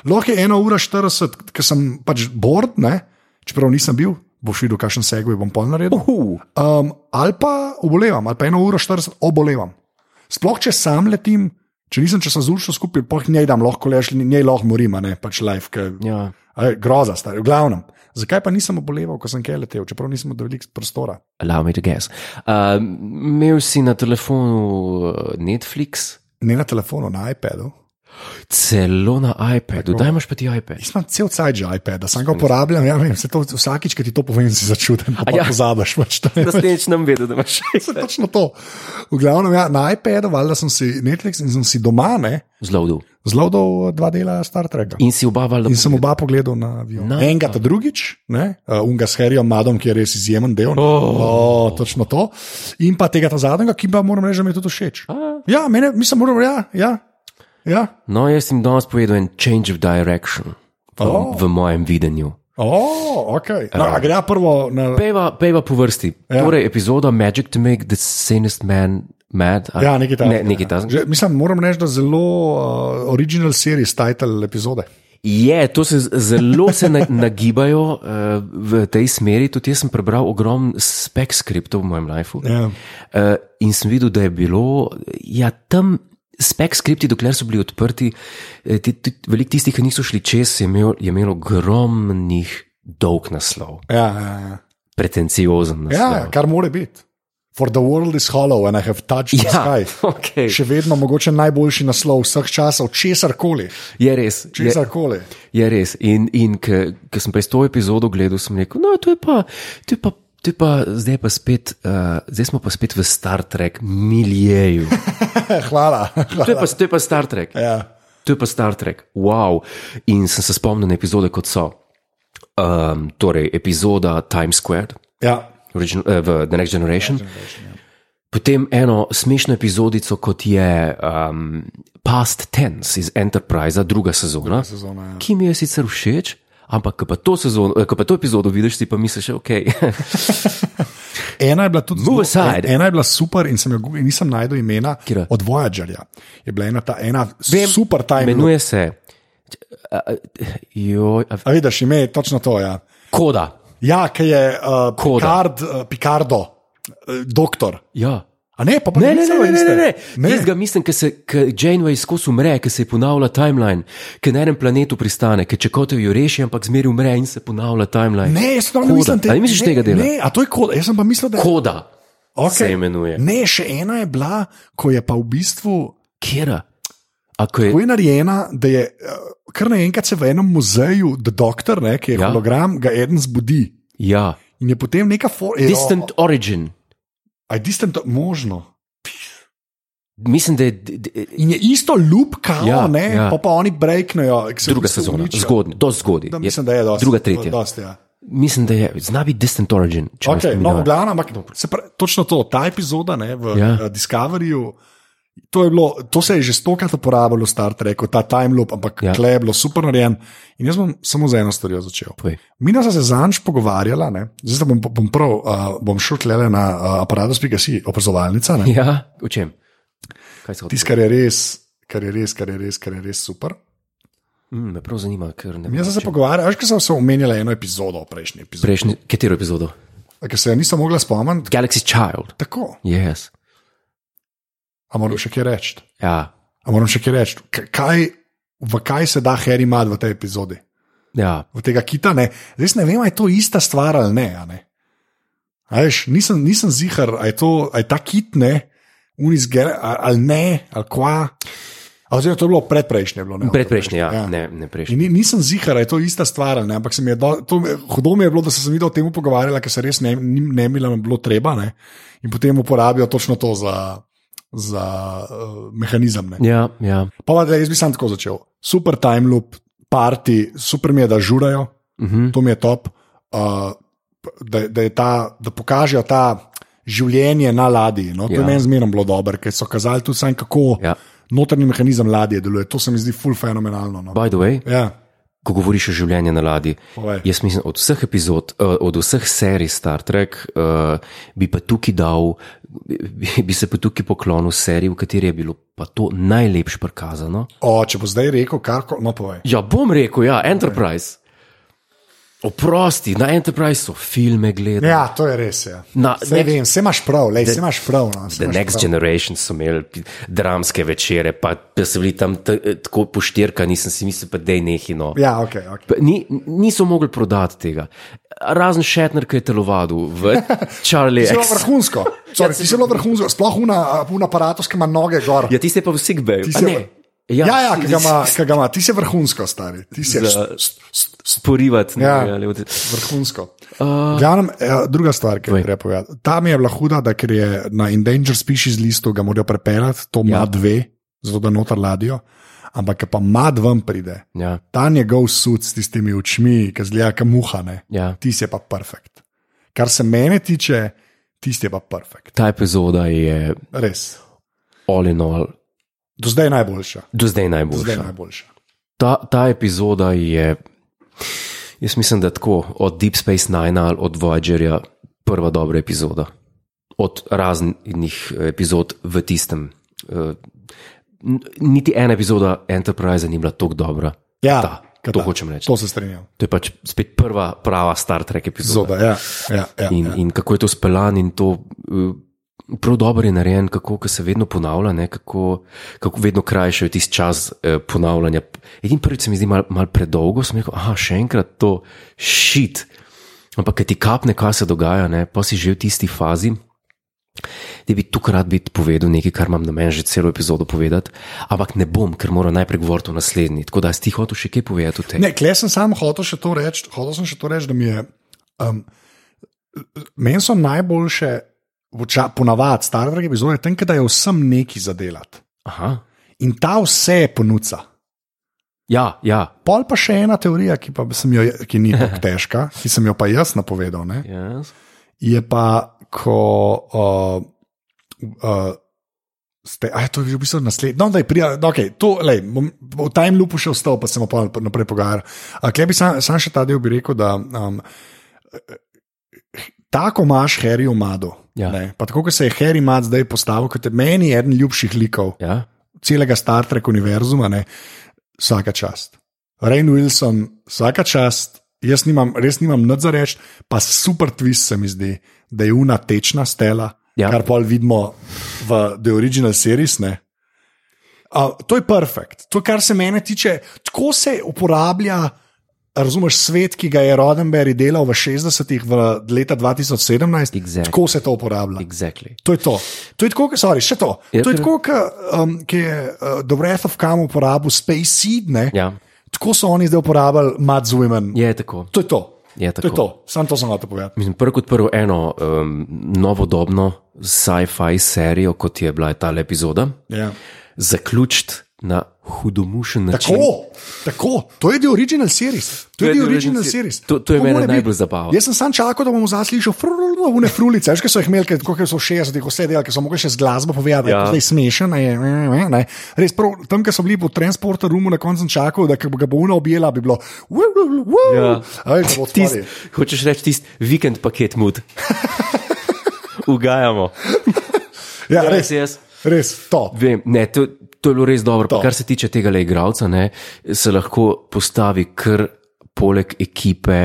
Lahko je ena ura 40, ker sem pač bored, ne? čeprav nisem bil, boš videl, kakšen segway bom pol naredil. Uhu. Um, ali pa obolevam, ali pa eno uro 40 obolevam. Sploh če sam letim, če nisem časa z uršo skupaj, pa njej dam lahko leš, njej lahko morim, a ne pač life, ker Ja. a je, groza stari, v glavnem. Zakaj pa nisem oboleval, ko sem kaj letel, čeprav nisem imel veliko prostora? Allow me to guess. Uh, imel si na telefonu eh, Netflix, Ne na telefonu, na iPadu. celo na iPadu, da imaš pa ti iPad. Jaz imam cel cajt že iPada, sam ga uporabljam, ja, vem, se to, vsakič, ki ti to povem, si začuden, pa A ja. ja. pozabiš. Pač, to je- Naslednjič nam vedel, da imaš to je točno to. V glavnem, ja, na iPadu, valjda sem si Netflix in sem si doma, ne, zelo dol. zelo dolgo dva dela Star Treka. In si oba valjda. In sem oba pogledal na avion. Na- No, Enega ta drugič, ne, uh, unga s Harryjem Madom, ki je res izjemen del. Oh. O, točno to. In pa tega ta zadnjega, ki pa moram reči, da mi je tudi všeč. A. Ja, mene, mislim, moram, ja, ja. ja. No, jaz sem danes povedal en change of direction v, oh. Oh. v mojem videnju. O, ok. No, a gre prvo na. Pejva, pejva po vrsti. Ja. Torej, epizoda Magic to make the sanest man mad. ali- Ja, nekaj tam. Ne, nekaj tam. Mislim, moram reči, da zelo uh, original series, eh, title epizode. Je, to se z- zelo se na- nagibajo eh, v tej smeri. Tudi jaz sem prebral ogromno spek skriptov v mojem lifeu. Ja. Eh, in sem videl, da je bilo ja, tam. Spek skripti, dokler so bili odprti, eh, ti- ti- veliko tistih, ki niso šli čez, je imel, je imel ogromnih dolg naslov, Ja, ja, ja. pretenciozen naslov. ja, kar more biti. For the world is hollow and I have touched the ja sky. okay. Še vedno mogoče najboljši naslov vseh časov, česar koli. je res. Je, Česar koli. Je res. In, in ker sem prej to epizodo gledal, sem rekel, no, to je pa, to je pa, to je pa zdaj pa spet, uh, zdaj smo pa spet v Star Trek milijeju. Hvala. To je pa, to je pa Star Trek. Ja. To je pa Star Trek, wow. In sem se spomnil na epizode, kot so. Um, torej, epizoda Times Square, Ja. original, eh, v The Next Generation. Potem eno smešno epizodico, kot je um, Past Tense iz Enterprise, druga sezona, druga sezona, ja. ki mi je sicer všeč, ampak ko pa to, sezono, eh, ko pa to epizodo vidiš, si pa misliš, ok. Ena je bila tudi Move zelo- aside. Ena je bila super in sem jo gu- in nisem najdel imena Katera? od Voyagerja. Je bila ena ta ena super tajna. Imenuje se a, a, joj, a, A vidiš, ime je točno to. Ja, Koda. ja ki je uh, Koda. Picard, uh, Picardo, uh, doktor. Ja. A ne, pa pa Ne, ne, ne, ne, iste. ne, ne, ne. Ne. Jaz ga mislim, ker se ke Janeway skozi umre, ker se ji ponavlja timeline, ker na enem planetu pristane, ker če kot jo reši, ampak zmeri umre in se ponavlja timeline. Ne, jaz sploh ne Koda. mislim te- A ne misliš ne, tega dela? Ne, a to je koda. Jaz sem pa mislil, da je Koda okay. se imenuje. Ne, še ena je bila, ko je pa v bistvu Kera? A ko je, Tako je narejena, da je eh, kar naenkrat se v enem muzeju, The Doctor, ne, ki Ja. je ja. hologram, ga eden zbudi. ja, In je potem neka forma. distant origin. Je distant, možno. Mislim, da je d- d- In je isto lup, kao, Ja, ja, ne, ja. ja. pa, pa oni breknejo. ki se v druga bistvu sezona, uničijo. zgodnja, dosti zgodaj. Da, Je- mislim, da je dosti, Druga, tretja. Dosti, ja. Mislim, da je, zna biti distant origin. če me okay, spominjava. no, v glavnem, ampak se pravi, točno to, ta epizoda ne, v Ja. ja. Discoveryju. To, je bilo, to se je že stokrat uporabljalo v Star Treku, ta time loop, ampak Ja. ja. kle je bilo super narejen. In jaz bom samo z eno stvarjo začel. Povej. Mi nas se zanj pogovarjala, ne, zdaj se bom, bom prav, uh, bom šel tle na uh, aparatus.si, opazovalnica. ne. Ja, o čem? Kaj se Tisto, kar je res, kar je res, kar je res, kar je res super. Mm, me prav zanima, ker ne Jaz sem se pogovarjal, veš, ker sem se omenjala eno epizodo v prejšnji epizodi, Prejšnji, katero epizodo? ker se je nisem mogla spomniti. Galaxy Child. Tako, Yes. a moram še kaj reči. Ja, A moram še kaj reči, K- kaj, v kaj se da Harry Mad v tej epizodi, ja. v tega kita. Ne? Zdaj ne vem, ali je to ista stvar ali ne. a ne? A Veš, nisem, nisem zihar, ali je, to, a je ta kit ne, unizger ali ne, ali kva. A Oziroma, to je bilo predprejšnje. je Bilo, ne, predprejšnji, ja, ja. ne, ne In prejšnji. ni, nisem zihar, je to ista stvar, ali ne, ampak se mi je do, to, hudo mi je bilo, da sem se videl o tem pogovarjala, ker se res ne, ni- ne mi je bilo treba. Ne? In potem uporabijo točno to za, za uh, mehanizem. Ne. Ja, ja. Pa vendar, jaz bi sam tako začel. Super time loop, parti, super mi je, da žurajo, Uh -huh. to mi je top. Uh, da, da, je ta, da pokažejo ta življenje na ladji. No? To Ja. je meni zmerno bilo dobro, ker so kazali tudi sam, kako Ja. notranji mehanizem ladje deluje. To se mi zdi ful fenomenalno. No? By the way, Ja, ko govoriš o življenju na ladji, Povej. jaz mislim, od vseh epizod, eh, od vseh serij Star Trek, eh, bi pa tukaj dal, bi, bi se pa tukaj poklonil seriji, v kateri je bilo pa to najlepše prikazano. o, če bo zdaj rekel, kako no povej. Ja, bom rekel, ja, Enterprise. Oprosti, na Enterprise so filme gledali. Ja, to je res. Ja. Na- next- Saj vem, vse imaš prav, lej, vse imaš prav. No, saj The imaš Next prav. Generation so imeli pi- dramske večere, pa, pa so bili tam t- tako poštirka, nisem si mislil, pa da je nehino. Ja, ok. okay. Pa Ni, niso mogli prodati tega. Razen Šetner, ki je telovadil v Charlie Zelo X. vrhunsko, Sorry, ti si zelo vrhunsko, sploh un aparatus, ki ima noge gor. Ja, tiste pa v Sigbeju. Ti si- Ja, ja, ja ki ga ima- s- ki ga ima, ti si vrhunsko, stari. Ti si Za- st- st- Sporivati. ne, Ja. ali od- vrhunsko. Uh, Glavnem, eh, druga stvar, ki jo Povej. je treba povedati. Tam je bila huda, da ker je na Endangered Species listu ga morajo prepeljati, to ima Ja. dve, zato da noter ladijo. Ampak, ko pa mad ven pride, Ja, ta njegov sud s tistimi očmi, ki zgleda, ki muhane, ja. ti si pa perfekt. Kar se mene tiče, ti si pa perfekt. Ta epizoda je Res. all in all, Do zdaj je najboljša. do zdaj Do zdaj najboljša. je najboljša. ta, ta epizoda je, jaz mislim, da tako od Deep Space Nine ali od Voyagerja prva dobra epizoda. Od raznih epizod v tistem. eh, n- Niti ena epizoda Enterprise ni bila tako dobra. Ja, Ta. To hočem reči. To se strinjam. To je pač spet prva prava Star Trek epizoda. Zoda, ja, ja, ja, In, ja. in kako je to speljan in to. eh, Prav dobro je narejen, kako ko se vedno ponavlja, ne, kako, kako vedno krajšajo tisti čas eh, ponavljanja. Edini prvič se mi zdi malo mal predolgo, sem rekel, ah, še enkrat to šit. Ampak, ki ti kapne, kaj se dogaja, ne, pa si že v tisti fazi, da bi tukaj bi povedal nekaj, kar imam na meni že celo epizodo povedati, ampak ne bom, ker moram najprej govoriti o naslednji. Tako da, si ti hotel še kaj povedati o tem? Ne, klej sem sam hotel še to reči, hotel sem še to reči, da mi je. Um, Meni so najboljše, voča- ponavadi, Star Trek epizode, tem, da je vsem neki zadelati. Aha. In ta vse ponuca. Ja, ja. Pol pa še ena teorija, ki, pa sem jo, ki ni tako težka, ki sem jo pa jaz napovedal. Ne? Yes. je pa, ko uh, uh, ste, aj, to je bil v bistvu naslednji, no, da je prijavljen, no, okay, to, lej, bom v time loopu še ostal, pa se bomo pa naprej pogajali. Uh, Klej bi sam, sam še ta del bi rekel, da um, tako imaš Harry umado. Ja. Ne, pa tako, kot se je Harry Mad zdaj postavil, kot je meni eden ljubših likov Ja. celega Star Trek univerzuma, ne, vsaka čast. Rain Wilson, vsaka čast, jaz nimam, res nimam nad za reči, pa super twist se mi zdi, da je una tečna stela, Ja. ja. kar pol vidimo v The Original Series. Ne. Uh, to je perfekt, to kar se mene tiče, tako se uporablja. Razumeš svet, ki ga je Rodenberg delal v 60-ih, v leta 2017, Exactly. tako se to uporablja. Exactly. To je to. To je tako, ke- sorry, še to. Ja, to je kar- tako, kot um, ke je uh, The Wrath of Kam uporabil Space Seed. Ne? Ja. Tako so oni zdaj uporabljali Mad Women. Je tako. To je to. Je To je Ja, tako. to. Sam to sem hotel povedati. Mislim, prvo kot prvo eno um, novodobno sci-fi serijo, kot je bila ta epizoda, Ja. zaključiti na hudomušen način. Tako, tako, to je The Original Series. To, to je The Original Series. To- to je Tako mene mora biti. najbolj zabavalo. Jaz sem sam čakal, da bom zaslišal frulne frulice, veš, ki so jih imeli, ker- tako kot so v 60-ih, vse delali, ki so mogli še z glasbo povedati, Ja. da je smešen. Je, ne, ne, ne. Res, prav, tam, kjer so bili po transporter rumu, na koncu sem čakal, da ke bo ga bo una objela, bi bilo. "Wu, wu, wu, wu." Ja. Ej, to bo Tist, odpadlo. hočeš reči tisti vikend paket mud. Ugajamo. Ja, Ja, res res, jaz. res, to. Vem, ne, to, to je bilo res dobro. Pa To. Kar se tiče tega le igravca, ne, se lahko postavi kar poleg ekipe,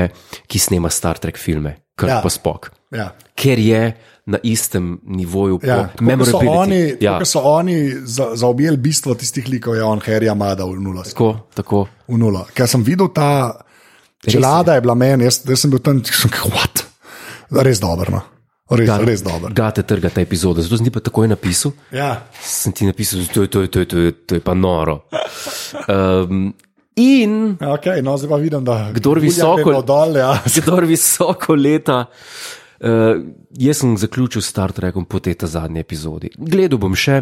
ki snema Star Trek filme, kar ja. Ja. pa spok. Ja. Ker je na istem nivoju, Ja, po tako, ke so oni, memorability. ja. so oni za, zaobjeli bistvo tistih likov, je on Harry Amada v nulo. tako, tako. v nulo. Ker sem videl ta čelada, je bila meni, jaz, jaz sem bil tam, sem rekel, what? Res dobro, no. res, Da. res dobro. Gate trga ta epizoda, zato sem ti pa takoj napisal. Ja. Sem ti napisal, to je, to je, to je, to je, to je pa noro. Um, in Okay, no, zdaj pa vidim, da Kdor Gulja visoko- gledal Dol, ja. Zgor visoko leta. Uh, jaz sem zaključil Star Trekom po tej ta zadnji epizodi. Gledal bom še,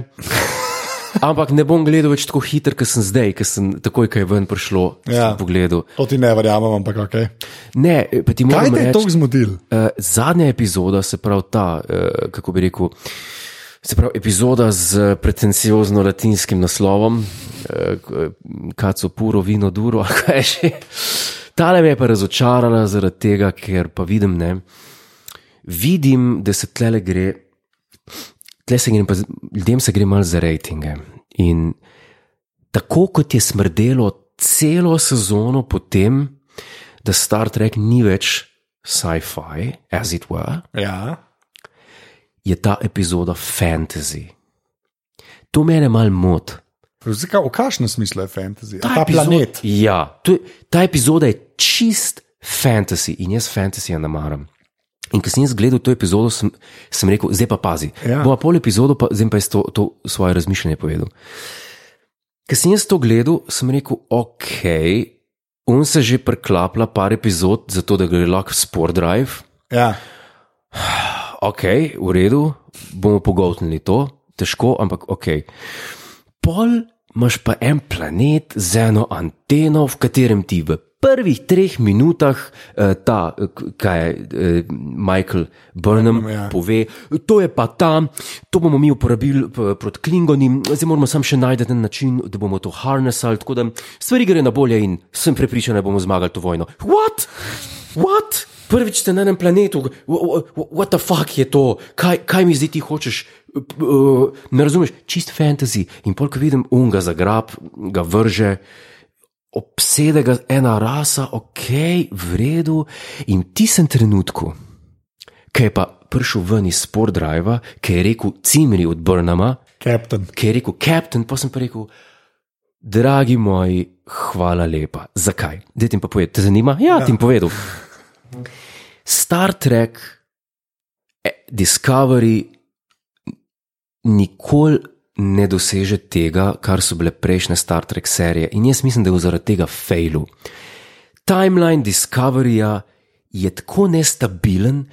ampak ne bom gledal več tako hiter, kot sem zdaj, ker sem takoj, ko je ven prišlo, ja. Ja. pogledal. To ti ne verjamem, ampak ok. Ne, eh, pa ti Kaj moram te je reči. tako zmodil? Uh, zadnja epizoda, se pravi ta, uh, kako bi rekel, se pravi epizoda z eh, pretenciozno latinskim naslovom, uh, kaco puro, vino duro, ali kaj je že. Tale me je pa razočarala zaradi tega, ker pa vidim, ne, vidim, da se tlele gre, tle se gre, pa, z- ljudem se gre malo za rejtinge. In tako kot je smrdelo celo sezono potem, da Star Trek ni več sci-fi, as it were, Ja. je ta epizoda fantasy. To mene malo moti. Zdaj, v kakšnem smislu je fantasy? A Ta epizoda- planet. Ja, to, je- ta epizoda je čist fantasy in jaz fantasy ja ne maram. In ko sem jaz gledal to epizodo, sem, sem rekel, zdaj pa pazi. Ja. Bo pol epizodo, pa, zdaj pa jaz to, to svoje razmišljanje povedal. Ko sem jaz to gledal, sem rekel, ok, on se že preklapla par epizod, zato da gre lahko Sport Drive. Ja. ok, v redu, bomo pogotnili to, težko, ampak ok. Pol imaš pa en planet z eno anteno, v katerem ti v prvih treh minutah eh, ta, eh, k- kaj je eh, Michael Burnham Burnham, ja. pove, to je pa tam, to bomo mi uporabili p- proti Klingonim, zdaj moramo sam še najti en način, da bomo to harnessali, tako da stvari gre na bolje in sem prepričan, da bomo zmagali to vojno. What? What? Prvič ste na enem planetu, wh- wh- wh- what the fuck je to, kaj, kaj mi zdaj ti hočeš, P- p- uh, ne razumeš, čist fantasy. In polk vidim, unga zagrab, ga vrže, obsede ga ena rasa, ok, v redu. In v tistem trenutku, ki je pa prišel ven iz Sportdriva, ki je rekel Cimri od Brnama, Captain. ki je rekel Captain, pa sem pa rekel. Dragi moji, hvala lepa. Zakaj? Dej ti pa povedi, te zanima? Ja, ja. ti bom povedal. Star Trek, eh, Discovery, nikoli ne doseže tega, kar so bile prejšnje Star Trek serije, in jaz mislim, da je zaradi tega failu. Timeline Discoveryja je tako nestabilen,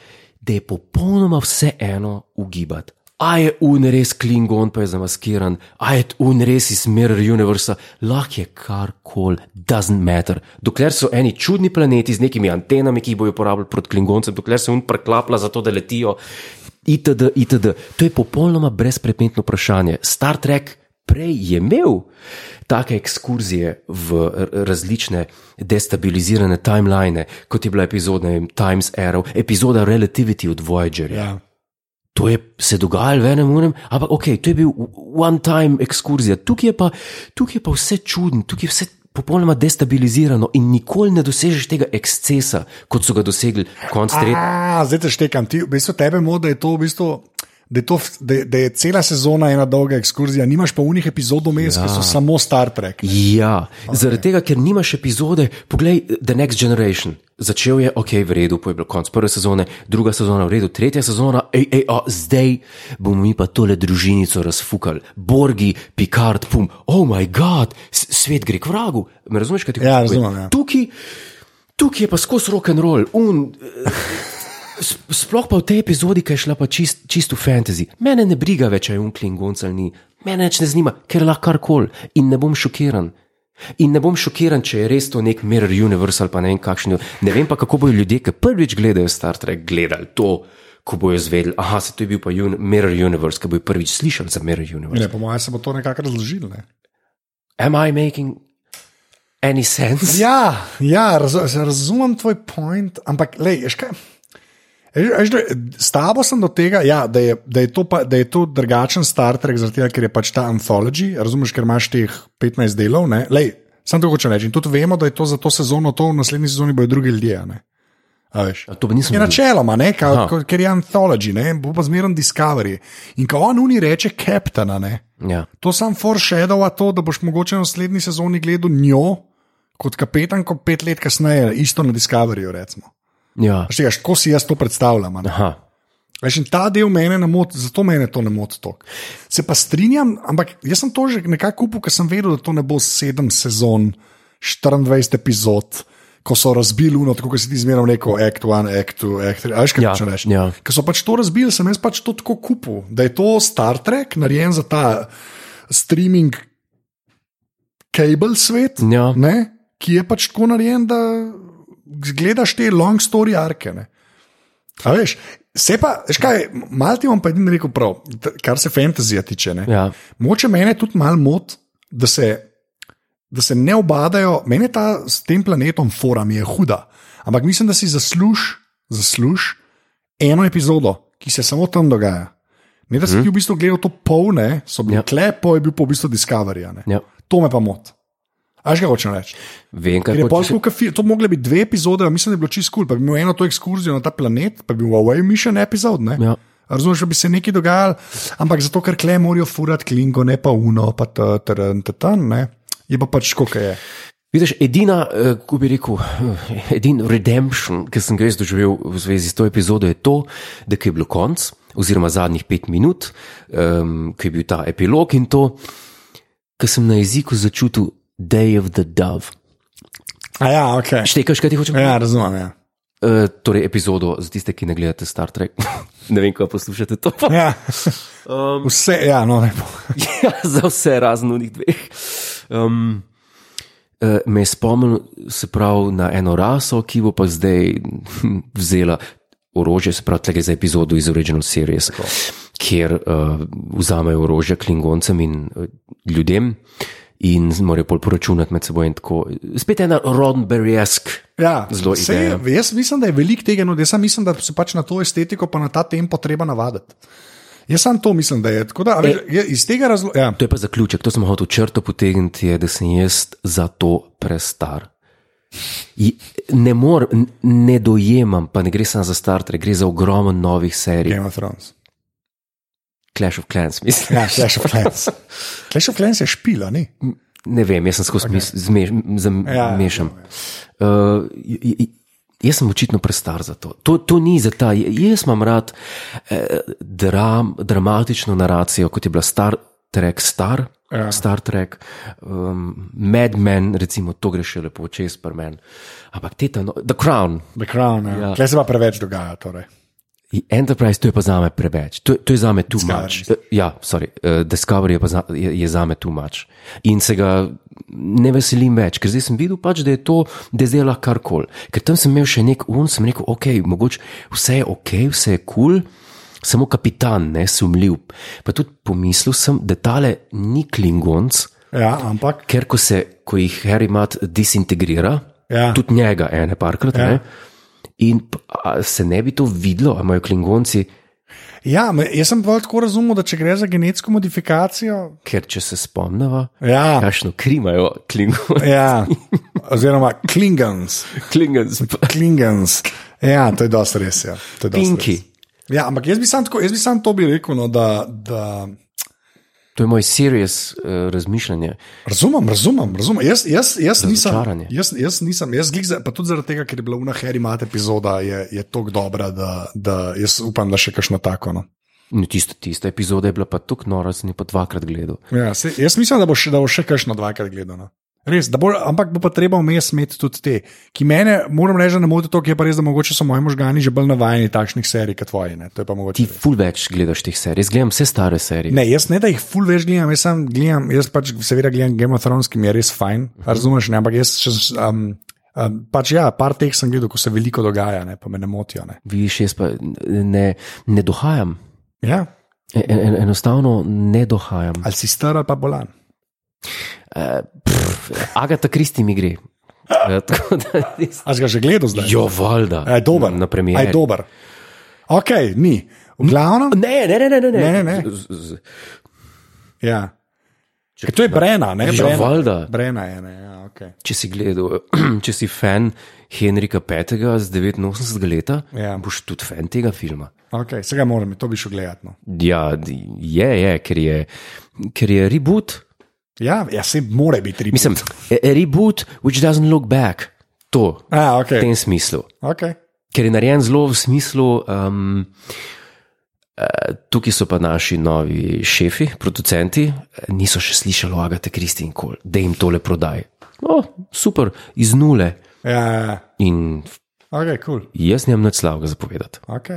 da je popolnoma vseeno ugibati. A je un res klingon, pa je zamaskiran, a je un res iz Mirror Universa, lahko je karkoli, doesn't matter. Dokler so eni čudni planeti z nekimi antenami, ki jih bojo uporabljali proti klingoncem, dokler se un preklapla za to, da letijo, itd., itd. To je popolnoma brezpredmetno vprašanje. Star Trek prej je imel take ekskurzije v različne destabilizirane timeline, kot je bila epizoda vem, Times Arrow, epizoda Relativity od Voyagerja. Ja. To je se dogajalo v enem urem, ampak ok, to je bil one-time ekskurzija. Tukaj je, pa, tukaj je pa vse čudno, tukaj je vse popolnoma destabilizirano in nikoli ne dosežeš tega ekscesa, kot so ga dosegli konc tretjega. A, zdaj te štekam. Ti, v bistvu tebe mo, da je to v bistvu. Da je, to, f- da, je- da je cela sezona ena dolga ekskurzija, nimaš pa unih epizod vmes, ja. ki so samo Star Trek. Ja, okay. zaradi tega, ker nimaš epizode, poglej The Next Generation. Začel je ok, v redu, pa je bil konc prve sezone, druga sezona v redu, tretja sezona, ej, ej, a, zdaj bomo mi pa tole družinico razfukali. Borgi, Picard, pum, oh moj bog, svet gre k vragu. Me razumeš, kaj ti Ja, hočem razumem, povedati? ja. Tukaj, tukaj je pa skozi rock and roll, un. eh, s- Sploh pa v tej epizodi, ki je šla pa čist, čisto v fantasy. Mene ne briga več, če je unkling goncal ni, mene več ne zanima, ker lahko karkoli in ne bom šokiran. In ne bom šokiran, če je res to nek Mirror Universe ali pa ne vem kakšen. Ne vem pa, kako bodo ljudje, ki prvič gledajo Star Trek, gledali to, ko bojo izvedeli, aha, se to je bil pa un Mirror Universe, ki bojo prvič slišali za Mirror Universe. Ne, po mojem se bo to nekako razložilo. Ne? Am I making any sense? Ja, ja raz, razumem tvoj point, ampak le, veš kaj. Eš, eš, da, s tabo sem do tega, ja, da, je, da, je to pa, da je to drugačen Star Trek, zaradi tega, ker je pač ta antology, razumeš, ker imaš teh 15 delov. ne. Lej, Sam to hočem reči. In tudi vemo, da je to za to sezono, to v naslednji sezoni bojo drugi ljudje. a ne. A veš. To pa nisem Je videl. načeloma, ne, ka, Aha. ko, ker je antology, ne, bo pa zmeren Discovery. In ko on uni reče kapitana, ne. Ja. To sam foreshadowa to, da boš mogoče v naslednji sezoni gledal njo kot kapetan, kot pet let kasneje, isto na Discoveryju. recimo. ja. Veš, tega, kako si jaz to predstavljam? a ne? Aha. Veš, in ta del mene ne moti, zato mene to ne moti toliko. Se pa strinjam, ampak jaz sem to že nekako kupil, ker sem vedel, da to ne bo sedem sezon, 24 epizod. Ko so razbili luno, tako kot si ti zmeraj rekel, act one, act two, act three, a veš, kaj Ja, hočem reči. ja. Ker so pač to razbili, sem jaz pač to tako kupil, da je to Star Trek, narejen za ta streaming, kabel svet, Ja. ne, ki je pač tako narejen, da gledaš te long story arke. ne. A veš, se pa, veš kaj, malo ti bom pa edin rekel prav, t- kar se fantazija tiče. Ne. Ja. Moče mene tudi malo mot, da se, da se ne obadajo. Mene ta s tem planetom, forum je huda. Ampak mislim, da si zasluž, zasluž eno epizodo, ki se samo tam dogaja. Ne, da si ti v bistvu gledal to polne, so bili Mhm. Ja. ja. klepo, je bil pa v bistvu Discovery. a ne. Ja. To me pa mot. Až ga hočem reči. Vem, kaj Ker je hočeš- pol tako kot film, to bi mogli biti dve epizode, a mislim, da je bilo čisto kul, cool. pa bi imel eno to ekskurzijo na ta planet, pa bi bil Huawei Mission epizod. Ne? Ja. Razumeš, da bi se nekaj dogajalo, ampak zato, ker kle morajo furati klingo, ne pa uno, pa teren, tetan, ne. Je pa pač, kako je. Vidiš, edina, eh, kako bi rekel, edini redemption, ki sem ga jaz doživel v zvezi s to epizodo, je to, da ko je bilo konc, oziroma zadnjih pet minut, um, ki je bil ta epilog in to, ki sem na jeziku začutil Day of the Dove. A ja, ok. Štekaš, kaj ti hočeš? Ja, razumem. Ja. Uh, torej, epizodo za tiste, ki ne gledate Star Trek. ne vem, kako poslušate to. Ja. Um, Vse, ja, no, ne bo. ja, za vse razen v njih dveh. Um, eh, me je spomnil se prav na eno raso, ki bo pa zdaj hm, vzela orožje, se pravi, tukaj za epizodo iz Original Series, Tako. kjer uh, vzamejo orožje klingoncem in uh, ljudem. In morajo pol poračunati med seboj, in tako. Spet ena Roddenberrysk. Ja, Zelo saj je- Jaz mislim, da je veliko tega, no, jaz samo mislim, da se pač na to estetiko, pa na ta tempo treba navaditi. Jaz sam to mislim, da je tako. Da, e, je iz tega razloga. Ja. To je pa zaključek, to sem hotel črto potegniti, je, da sem jaz za to prestar. Ne, mor, ne dojemam, pa ne gre samo za Star Trek, gre za ogromno novih serij. Game of Thrones. Clash of Clans, mislim. Ja, Clash of Clans. Clash of Clans je špila, ni? Ne vem, jaz sem skozi okay. zmeš, zamešam. Ja, ja, ja. Uh, j, j, jaz sem očitno prestar za to. To, to ni za ta. Jaz imam rad eh, dram, dramatično naracijo, kot je bila Star Trek, Star, ja. Star Trek, um, Mad Men, recimo, to gre še lepo čez pri meni. Ampak te tam, no, The Crown. The Crown, ja. ja. Kaj se pa preveč dogaja? Torej. Enterprise, to je pa za me preveč, to, to je za me tu mač. Ja, sorry, uh, Discovery je, za, je, je za me tu mač. In se ga ne veselim več, ker zdaj sem videl, pač, da je to, da je zdaj lahko karkoli. Ker tam sem imel še nek un, sem rekel, ok, mogoče vse je ok, vse je kul, cool, samo kapitan, ne sumljiv. Pa tudi pomislil sem, da tale ni klingonc. Ja, ampak. Ker ko, se, ko jih Harry Mat disintegrira, ja. tudi njega, ene parkrat. Ja. Ne, in se ne bi to videlo, ali imajo klingonci. Ja, jaz sem bolj tako razumel, da če gre za genetsko modifikacijo. Ker če se spomnimo, ja. kakšno krimajo klingonci. Ja. Oziroma, klingons. klingons. klingons. Ja, to je dosti res. Ja. To je dosti Pinki. Res. Ja, ampak jaz bi sam, tako, jaz bi sam to bi rekel, no, da, da To je moj serious uh, razmišljanje. Razumem, razumem, razumem. Jaz, jaz, jaz nisem. Jaz, jaz nisem, jaz glih, za, pa tudi zaradi tega, ker je bila unaheri mat epizoda, je, je tako dobra, da, da jaz upam, da še kakšno tako. No. No, tista, tista epizoda je bila pa tako nora, sem pa dvakrat gledal. Ja, se, jaz mislim, da bo še, da bo še kakšno dvakrat gledal. No. Res, bo, ampak bo pa treba vmes imeti tudi te, ki mene, moram reči, ne motijo to, ki je pa res, da mogoče so moji možgani že bolj navajeni takšnih serij kot tvoji. Ne? To je pa mogoče. Ti ful več gledaš teh serij, jaz gledam vse stare serije. Ne, jaz ne da jih ful več gledam, jaz sam gledam, jaz pač seveda gledam Game of Thrones, ki mi je res fajn, uh -huh. razumeš, ne, ampak jaz še. Um, Um, pač ja, par teh sem gledal, ko se veliko dogaja, ne, pa me ne motijo. Ne. Viš, jaz pa ne, ne dohajam. Ja. En, en, enostavno ne dohajam. Ali si star ali pa bolan. Uh, pff, Agata Kristi mi gre. Uh, A si ga že gledal zdaj? Jo, valjda. Je dober. Na premijeru. Je dober. Ok, ni. V glavnem. Ne, ne, ne, ne. ne. ne, ne, ne. Z, z, z. Ja. Ker to je Brena, ne Jo, Brena. valjda. Brena je, ne, ja, ok. Če si gledal, če si fan Henrika V. z 89. leta, Ja. boš tudi fan tega filma. okay se ga moram, to bi šel gledati. No. Ja, d- je, je, ker je, ker je reboot. Ja, ja, se mora biti tri. Mislim, a, a reboot, which doesn't look back. To, A, v ok. tem smislu. okay. Ker je narejen zelo v smislu, um, eh, tukaj so pa naši novi šefi, producenti, eh, niso še slišali o Agate Kristi in kol, da jim tole prodaj. No, super, iz nule. Ja, ja, ja. In ok, kul. Cool. jaz nimam nič slabega zapovedati. Ok,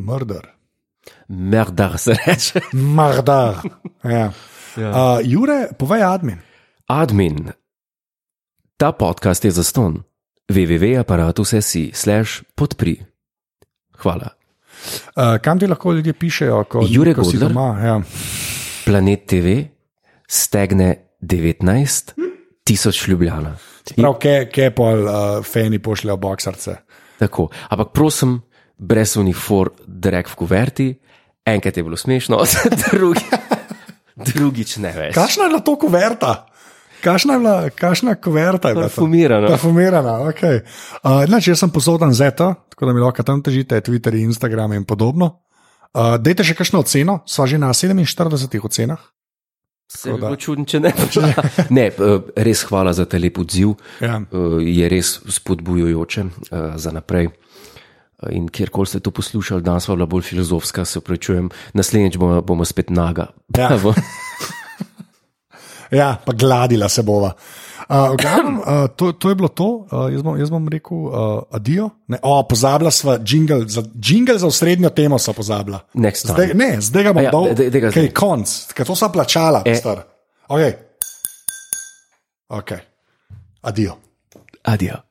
murder. Merdar se reče. Mardar. Ja. Ja. Uh, Jure, povej admin. Admin, ta podcast je zaston. www.aparatus.si slash podpri. Hvala. Uh, kam ti lahko ljudje pišejo, ko, Jure ko si Godler? doma? Ja. Planet TV stegne 19 tisoč ljubljana. In Prav, ke, ke pol uh, fani pošljajo boksarce. Tako. Ampak prosim, brez unifor, drek v kuverti, enkrat je bilo smešno, drugi, drugič ne več. Kakšna je bila to kuverta? Kakšna je bila, kakšna kuverta je bila? to? Parfumirano. Parfumirana, ok. Uh, nač, jaz sem posodan z eto, tako da mi lahko tam težite, Twitter, Instagram in podobno. Uh, dajte še kakšno oceno, sva že na 47 ocenah. Se bi bilo čudno, če ne. ne, eh, res hvala za ta lep odziv. Ja. Eh, Je res spodbujujoče eh, za naprej. Eh, In kjerkoli ste to poslušali, danes pa je bila bolj filozofska, se upravičujem, naslednjič bomo, bomo spet naga. Ja. Ja, pa gladila se bova. Uh, v glavnem, uh, to, to je bilo to, uh, jaz, bom, jaz bom rekel, uh, adijo. Ne, o, pozabila sva, jingle za, jingle za osrednjo temo sva pozabila. Next time. Zdaj, ne, zdaj ga bom A ja, ja, dal, de- de- de ga ker je zdaj. konc, ker to sva plačala, e. star. Ok, okay. adijo. Adijo.